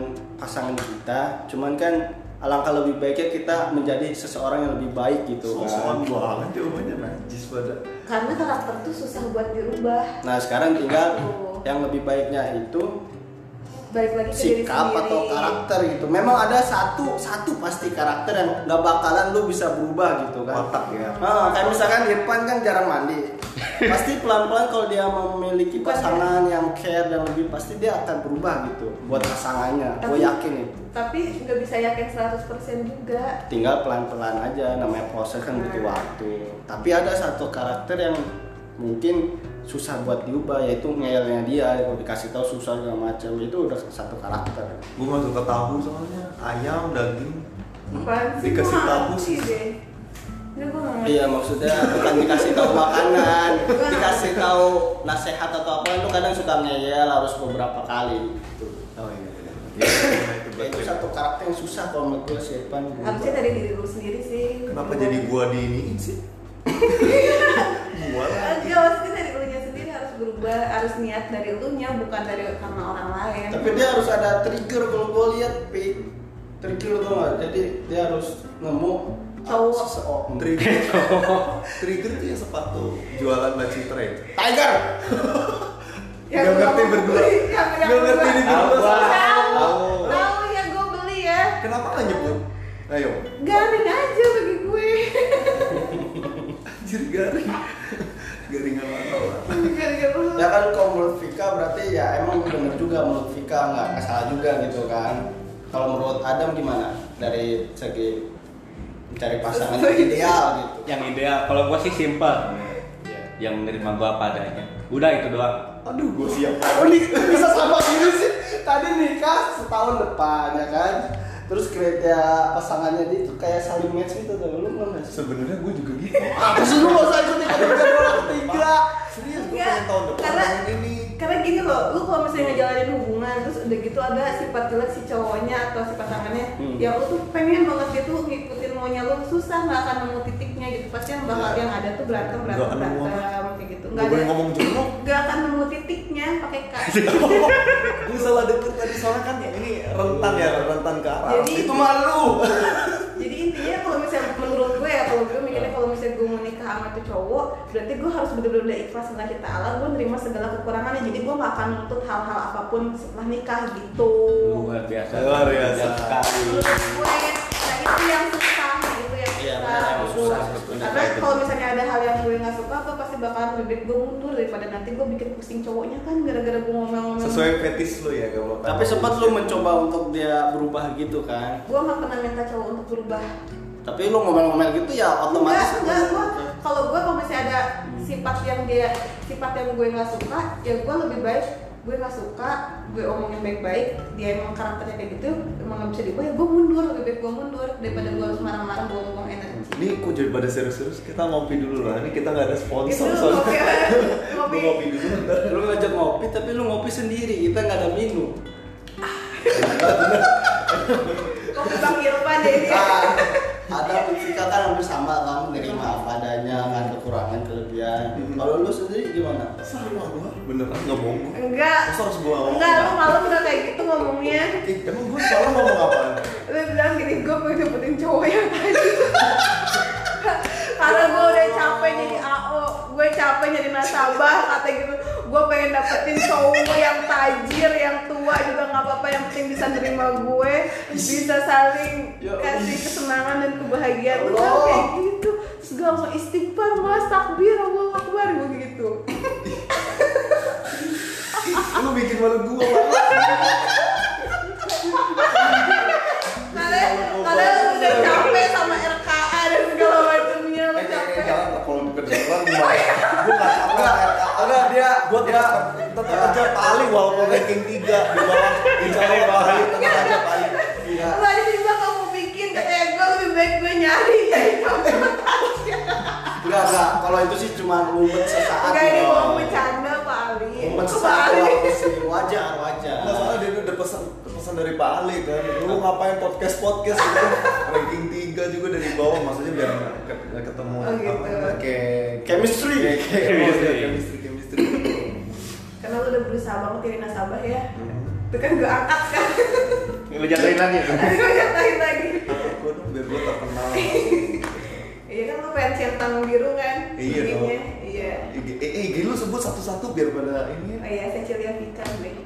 Speaker 1: pasangan kita, cuman kan alangkah lebih baiknya kita menjadi seseorang yang lebih baik gitu kan.
Speaker 2: Sosokan banget jawabannya najis pada.
Speaker 3: karena karakter tuh susah buat dirubah
Speaker 1: Nah sekarang tinggal
Speaker 3: Oh.
Speaker 1: yang lebih baiknya itu
Speaker 3: balik lagi ke diri
Speaker 1: sikap
Speaker 3: sendiri
Speaker 1: atau karakter gitu. Memang ada satu satu pasti karakter yang nggak bakalan lu bisa berubah gitu kan.
Speaker 2: Otak ya.
Speaker 1: Ah, kayak misalkan Irfan kan jarang mandi. Pasti pelan-pelan kalau dia memiliki pasangan yang care dan lebih pasti dia akan berubah gitu buat pasangannya. Gue
Speaker 3: Tapi-
Speaker 1: yakin ya. itu.
Speaker 3: tapi nggak bisa yakin 100% juga
Speaker 1: Tinggal pelan-pelan aja namanya proses kan butuh waktu. Tapi ada satu karakter yang mungkin susah buat diubah yaitu ngeyelnya dia kalau dikasih tahu susah segala macam itu udah satu karakter
Speaker 2: Gue masuk ke tahu soalnya ayam daging.
Speaker 3: Apaan sih?
Speaker 2: Hmm, Dikasih
Speaker 3: Gua
Speaker 2: tahu
Speaker 3: nggak
Speaker 2: sih.
Speaker 3: ngerti deh. Nggak, gua nggak ngerti.
Speaker 1: Iya maksudnya bukan dikasih tahu makanan,
Speaker 3: Bukan.
Speaker 1: dikasih tahu nasehat atau apa itu kadang suka ngeyel harus beberapa kali. Gitu.
Speaker 2: Oh iya. Iya, itu
Speaker 1: Ya, itu
Speaker 2: betul.
Speaker 1: satu karakter yang susah kalau menurut gue sih gitu. Pan.
Speaker 3: Harusnya dari diri lu sendiri sih.
Speaker 2: Kenapa jadi gua di ini sih? gua lah.
Speaker 3: Enggak, Iya, maksudnya dari lu sendiri harus berubah, harus niat dari lu bukan dari karena orang lain.
Speaker 1: Tapi dia harus ada trigger kalau gue lihat pi trigger tuh nggak. Jadi dia harus nemu
Speaker 3: Cowok.
Speaker 1: seseorang.
Speaker 2: Trigger. Trigger tuh ya sepatu jualan Mbak Citra itu.
Speaker 1: Tiger.
Speaker 3: Yang
Speaker 2: Nggak ngerti
Speaker 3: Ya, gua-
Speaker 2: berdua.
Speaker 3: Yang- yang
Speaker 2: Nggak ngerti
Speaker 3: gua-
Speaker 2: ini berdua.
Speaker 3: Tahu,
Speaker 2: Tahu.
Speaker 3: tahu ya gue beli ya.
Speaker 2: Kenapa nggak nyebut? Ayo.
Speaker 3: Garing aja bagi gue.
Speaker 2: Anjir garing. Garingan mana lah.
Speaker 3: Garing banget.
Speaker 1: Ya kan kalau menurut Vika berarti ya emang bener juga menurut Vika nggak nggak salah juga gitu kan. Kalau menurut Adam gimana dari segi mencari pasangan yang ideal gitu?
Speaker 4: Yang ideal, kalau gua sih simpel. Yang menerima gua apa adanya. Udah itu doang.
Speaker 2: Aduh, gua siap.
Speaker 1: Oh, ini bisa sama gini sih. Tadi nikah setahun depan ya kan. Terus kriteria pasangannya dia itu kayak saling match gitu tuh. Lu belum nggak sih?
Speaker 2: Sebenarnya gua juga gitu.
Speaker 1: Apa sih lu nggak usah ikut ikut kerja orang ketiga?
Speaker 2: Serius gua
Speaker 3: Enggak,
Speaker 2: pengen tahun depan
Speaker 3: Iya, karena-
Speaker 2: ngomongin ini.
Speaker 3: Karena gini loh, lu kalau misalnya ngejalanin hubungan terus udah gitu ada sifat jelek si cowoknya atau si pasangannya,
Speaker 1: Hmm.
Speaker 3: ya lu tuh pengen banget gitu ngikutin maunya lu susah nggak akan nemu titiknya gitu pasti yang bakal yang ada tuh berantem berantem
Speaker 2: Iya. Nggak akan nemu
Speaker 3: berantem kayak gitu
Speaker 2: Gak
Speaker 3: nggak
Speaker 2: boleh
Speaker 3: ada
Speaker 2: ngomong jorok.
Speaker 3: nggak akan nemu titiknya pakai kak
Speaker 2: Gue salah denger tadi soalnya kan ya ini rentan ya, rentan ke arah.
Speaker 3: Jadi-
Speaker 2: itu malu.
Speaker 3: jadi intinya kalau misalnya menurut gue ya kalau gue
Speaker 2: Iya.
Speaker 3: mikirnya kalau misalnya gue mau nikah sama tuh cowok berarti gue harus bener-bener ikhlas sama kita Allah gue nerima segala kekurangannya jadi gue gak akan nuntut hal-hal apapun setelah nikah gitu
Speaker 4: Luar biasa.
Speaker 2: Luar biasa.
Speaker 4: sekali.
Speaker 3: menurut gue nah itu yang susah itu yang
Speaker 1: Iya,
Speaker 3: susah,
Speaker 1: benar, yang
Speaker 3: gitu.
Speaker 1: susah sebetulnya.
Speaker 3: karena kalau misalnya ada hal yang gue nggak suka gue pasti bakalan lebih gue mundur daripada nanti gue bikin pusing cowoknya kan gara-gara gue ngomel-ngomel
Speaker 2: Sesuai fetis lu ya kalau
Speaker 1: Tapi sempat lu mencoba untuk dia berubah gitu kan.
Speaker 3: gue gak pernah minta cowok untuk berubah
Speaker 1: Tapi lu ngomel-ngomel gitu ya otomatis.
Speaker 3: enggak, enggak, gue kalau gue kalau misalnya ada sifat yang dia sifat yang gue nggak suka ya gue lebih baik gue nggak suka gue omongin baik-baik dia emang karakternya kayak gitu emang nggak bisa diubah ya gue mundur lebih baik gue mundur daripada gue harus marah-marah buang-buang energi
Speaker 2: ini kok jadi pada serius-serius kita ngopi dulu lah. Ini kita nggak ada
Speaker 3: itu
Speaker 2: sponsor
Speaker 3: ngopi
Speaker 2: soalnya.
Speaker 3: ngopi
Speaker 2: Gua ngopi dulu bentar.
Speaker 1: Lu ngajak ngopi tapi lu ngopi sendiri, kita nggak ada minum.
Speaker 3: kopi bang Irfan deh dia
Speaker 1: Ah, ada Vika kan hampir sama kan menerima apa adanya kan kekurangan kelebihan.
Speaker 2: Hmm.
Speaker 1: Kalau lu sendiri gimana?
Speaker 2: Sama gua beneran nggak bohong.
Speaker 3: enggak
Speaker 2: Masa harus gua ngomong?
Speaker 3: enggak lu malam udah kayak gitu ngomongnya
Speaker 2: Eh, emang gua salah ngomong apaan?
Speaker 3: lu bilang gini gue mau dapetin cowok yang tadi karena gue udah capek jadi AO gue capek jadi nasabah kata gitu gue pengen dapetin cowok yang tajir yang tua juga nggak apa-apa apa yang penting bisa nerima gue bisa saling kasih kesenangan dan kebahagiaan
Speaker 1: Ya
Speaker 3: Tuh kan
Speaker 1: Allah.
Speaker 3: kayak gitu Terus gue langsung istighfar mas takbir Allah akbar gue gitu
Speaker 1: Ya
Speaker 2: Lu bikin malu gua. Bang.
Speaker 3: kalian kalian udah capek sama RKA dan segala macamnya
Speaker 1: Eh,
Speaker 2: Iya,
Speaker 3: lo capek
Speaker 2: Kalau dikerjain orang gimana? Gua nggak apa-apa.
Speaker 1: Enggak dia
Speaker 2: Gua tetap tetap aja paling walaupun ranking 3 di bawah di bawah paling tetap aja paling.
Speaker 1: Iya.
Speaker 3: Lu aja tiba kamu bikin kayak gue lebih baik gue nyari gitu. dari
Speaker 2: Eh,
Speaker 3: kamu
Speaker 1: Enggak enggak. Kalau itu sih cuma ngumpet sesaat.
Speaker 3: Enggak ini
Speaker 1: doang.
Speaker 3: mau bercanda Pak Ali
Speaker 1: Ngumpet
Speaker 3: Pak
Speaker 1: sesaat
Speaker 3: Ali
Speaker 1: doang sih. Wajar wajar.
Speaker 2: Nggak soalnya dia udah pesan pesan dari Pak Ali kan. Lu ngapain podcast podcast gitu? Ranking 3 juga dari bawah maksudnya biar nggak ke- nggak ketemu
Speaker 3: Oh, gitu.
Speaker 2: nggak kayak
Speaker 1: Chemistry.
Speaker 2: kayak- kayak- kayak-
Speaker 4: Chemistry.
Speaker 2: chemistry chemistry.
Speaker 3: Karena lu udah berusaha banget jadi nasabah ya Itu kan gue angkat kan
Speaker 4: Lu jatuhin lagi.
Speaker 3: Tadi gue nyatain lagi
Speaker 2: Gua tuh biar gua terkenal.
Speaker 3: Iya kan lu pengen centang biru kan
Speaker 2: Iya dong.
Speaker 3: ininya. Iya
Speaker 2: IG, eh, eh, IG lu sebut satu-satu biar pada ini ya.
Speaker 3: Oh iya, Cecilia Vikan deh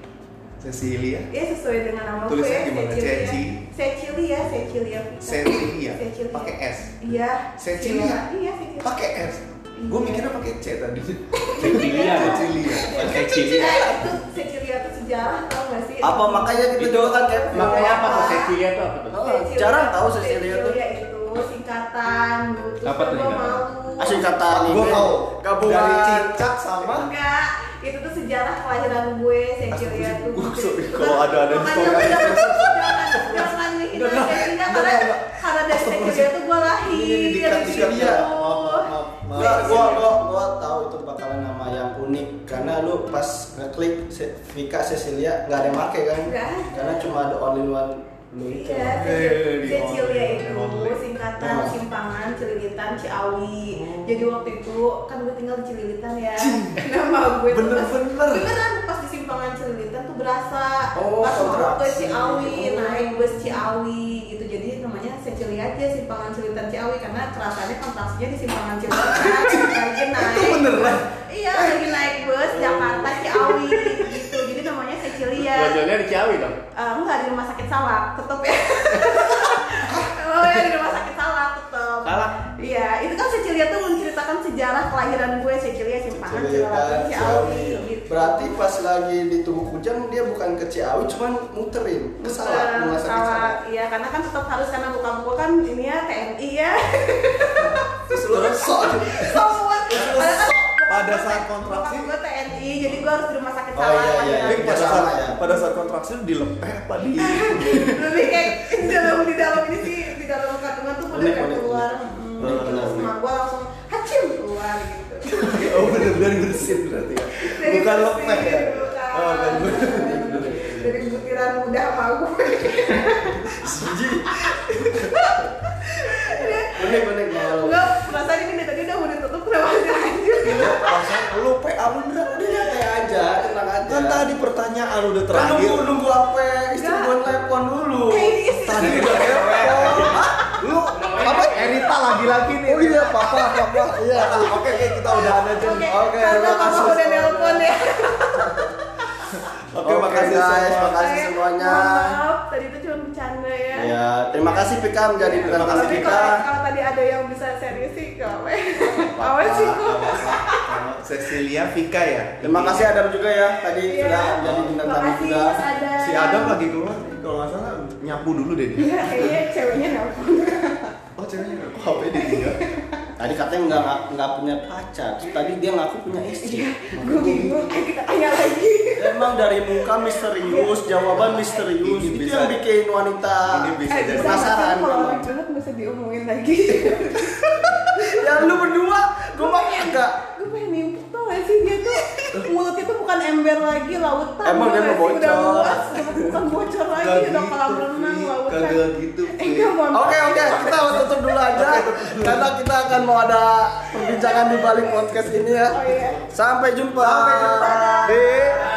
Speaker 2: Cecilia.
Speaker 3: Iya sesuai dengan nama gue
Speaker 2: Tulisnya
Speaker 3: ya,
Speaker 2: gimana?
Speaker 3: Cecilia.
Speaker 2: Ceci?
Speaker 3: Cecilia, Cecilia Vikan
Speaker 2: Cecilia.
Speaker 3: Cecilia.
Speaker 2: Pakai S.
Speaker 3: Iya
Speaker 2: Cecilia.
Speaker 3: Iya, Cecilia
Speaker 2: Pakai S. Gue mikirnya pakai C tadi.
Speaker 4: Cecilia.
Speaker 2: Cecilia.
Speaker 4: Cecilia.
Speaker 3: Eh, itu Cecilia itu sejarah tau gak sih? Iya,
Speaker 1: Apa makanya kita
Speaker 4: Itu
Speaker 1: juga kan kayak
Speaker 4: Makanya apa tuh Cecilia tuh apa tuh?
Speaker 1: Oh, jarang tahu Cecilia tuh.
Speaker 3: Cecilia Iya, itu singkatan Terus
Speaker 4: Apa tuh
Speaker 3: gua
Speaker 4: singkatan?
Speaker 3: malu.
Speaker 1: Ah, singkatan ini.
Speaker 2: Gue tahu.
Speaker 1: Gabungan.
Speaker 2: Dari cicak sama
Speaker 3: Enggak, itu tuh sejarah kelahiran gue, Cecilia
Speaker 2: Astagfirullah,
Speaker 3: tuh
Speaker 2: gua
Speaker 3: gitu.
Speaker 2: sorry, kalau ada- ada di
Speaker 3: Makanya lu
Speaker 2: komen.
Speaker 3: jangan, jangan, jangan ngehina
Speaker 2: Udah,
Speaker 3: Cecilia
Speaker 2: udah,
Speaker 3: Karena,
Speaker 2: udah.
Speaker 3: karena dari Cecilia tuh gue lahir
Speaker 2: Ini dikat
Speaker 3: gitu.
Speaker 2: juga dia. Maaf, maaf, maaf.
Speaker 1: Enggak, gua gua gua tahu itu bakalan nama yang unik karena lu pas ngeklik Se- Vika Cecilia nggak ada yang make kan?
Speaker 3: Nggak ada.
Speaker 1: Karena cuma ada only one lu itu.
Speaker 3: Iya,
Speaker 2: Eh, di
Speaker 3: Cecilia
Speaker 2: online,
Speaker 3: itu
Speaker 2: online.
Speaker 3: singkatan
Speaker 2: Oh.
Speaker 3: simpangan Cililitan Ciawi. Jadi waktu itu kan gue tinggal di Cililitan ya. Nama gue tuh pas-
Speaker 2: Bener-bener.
Speaker 3: beneran pas di simpangan Cililitan tuh berasa
Speaker 1: Oh,
Speaker 3: pas mau ke
Speaker 1: kontraksi.
Speaker 3: Ciawi,
Speaker 1: Oh.
Speaker 3: naik bus Ciawi gitu. Jadi namanya Cecilia aja simpangan Cililitan Ciawi karena kerasannya kontraksinya di simpangan Cililitan. lagi naik.
Speaker 2: Itu beneran?
Speaker 3: Iya, lagi naik bus Jakarta Ciawi gitu. Jadi namanya ya. Cecilia.
Speaker 4: Wajahnya di Ciawi dong.
Speaker 3: Eh, enggak di rumah sakit salak tetep ya oh ya di rumah sakit salak tetep
Speaker 4: Salah.
Speaker 3: iya itu kan Cecilia tuh menceritakan sejarah kelahiran gue ya, Cecilia simpangan Cilakan Ciawi gitu
Speaker 1: ya kan? Berarti pas lagi di tubuh kujang dia bukan ke Ciawi cuman muterin ke Salak, rumah sakit Salak.
Speaker 3: Salak, iya karena kan tetap harus karena bukan gue kan ini ya TNI ya
Speaker 1: Terus lu
Speaker 2: kan
Speaker 1: sok.
Speaker 3: semua karena kan
Speaker 2: Pada
Speaker 3: bokap-
Speaker 2: saat
Speaker 3: bokap
Speaker 2: kontraksi.
Speaker 3: gue TNI jadi gue harus di rumah sakit
Speaker 1: Oh,
Speaker 3: salak kan.
Speaker 1: iya, iya,
Speaker 3: lagi-lagi.
Speaker 2: Tapi pada saat
Speaker 1: Sama ya.
Speaker 2: pada saat kontraksi lu dilepeh apa di
Speaker 3: lebih kayak di dalam di dalam ini sih di dalam kandungan tuh udah
Speaker 1: Unik,
Speaker 3: kayak
Speaker 1: unik,
Speaker 3: keluar
Speaker 1: unik.
Speaker 3: Hmm,
Speaker 1: Unik,
Speaker 3: terus
Speaker 1: unik.
Speaker 3: sama gue langsung hacim keluar gitu
Speaker 2: Oh bener dari bersin berarti ya.
Speaker 3: Dari
Speaker 2: Bukan
Speaker 3: besi,
Speaker 2: lepeh ya.
Speaker 3: bukan.
Speaker 2: Oh kan
Speaker 3: dari butiran muda sama gue
Speaker 1: Unik unik malu.
Speaker 3: gue perasaan ini dari tadi udah mau ditutup kenapa aja anjir
Speaker 2: Perasaan lu PA lu udah
Speaker 1: Udah nyantai aja, tenang aja.
Speaker 2: kan tadi pertanyaan udah
Speaker 1: Kan
Speaker 2: terakhir.
Speaker 1: nunggu nunggu apa? Istri
Speaker 3: Enggak.
Speaker 1: gua telepon dulu.
Speaker 3: kayak ini sih
Speaker 2: Tadi udah telepon. Lu apa? Erita lagi-lagi nih. Oh iya papa papa. Iya. Oke oke kita udahan aja.
Speaker 3: oke
Speaker 1: Oke,
Speaker 3: karena
Speaker 1: terima kasih
Speaker 3: mama udah
Speaker 1: semuanya.
Speaker 3: nelpon ya
Speaker 2: Oke makasih
Speaker 1: guys,
Speaker 2: semua.
Speaker 1: makasih semuanya.
Speaker 3: Mohon maaf tadi itu cuma bercanda ya
Speaker 1: Ya, terima kasih Vika menjadi bintang tamu
Speaker 3: tapi
Speaker 1: kita.
Speaker 3: kalau kalau tadi ada yang bisa serius sih kau awal sih gue
Speaker 2: Cecilia Vika ya.
Speaker 1: Terima kasih Adam juga ya tadi
Speaker 3: Iya.
Speaker 1: sudah menjadi bintang tamu
Speaker 3: Makasih,
Speaker 1: kita.
Speaker 3: Mas Adam.
Speaker 2: Si Adam lagi keluar nih, kalau nggak salah nyapu dulu deh dia.
Speaker 3: Iya, kayaknya ceweknya nelfon.
Speaker 2: Oh ceweknya nggak kok dia dia.
Speaker 1: Tadi katanya nggak nggak punya pacar, terus tadi dia ngaku punya istri.
Speaker 3: Gue bingung, ayo kita tanya lagi.
Speaker 1: Emang dari muka misterius, jawaban misterius itu
Speaker 2: Ini bisa-
Speaker 1: yang bikin wanita
Speaker 2: ini bisa
Speaker 3: Eh,
Speaker 2: jadi
Speaker 3: bisa
Speaker 1: penasaran.
Speaker 3: nggak sih? Kalau orang banget nggak usah diomongin lagi.
Speaker 1: Ya lu berdua, gue mah enggak.
Speaker 3: Gue pengen nimpuk tau gak sih dia tuh mulutnya tuh bukan ember lagi, lautan.
Speaker 1: Emang
Speaker 3: tau
Speaker 1: dia
Speaker 3: nggak
Speaker 1: mau
Speaker 3: sih? Udah
Speaker 1: bocor.
Speaker 3: luas, udah bukan bocor lagi,
Speaker 2: Nggak
Speaker 3: udah
Speaker 2: gitu,
Speaker 3: kolam renang
Speaker 2: Fi.
Speaker 3: lautan.
Speaker 2: Kagak gitu, Fi.
Speaker 3: Eh, nggak mau.
Speaker 1: Oke oke, kita tutup dulu aja karena kita akan mau ada perbincangan di balik podcast ini ya.
Speaker 3: Oh iya.
Speaker 1: Sampai jumpa. Sampai jumpa.
Speaker 2: Di
Speaker 1: Nah.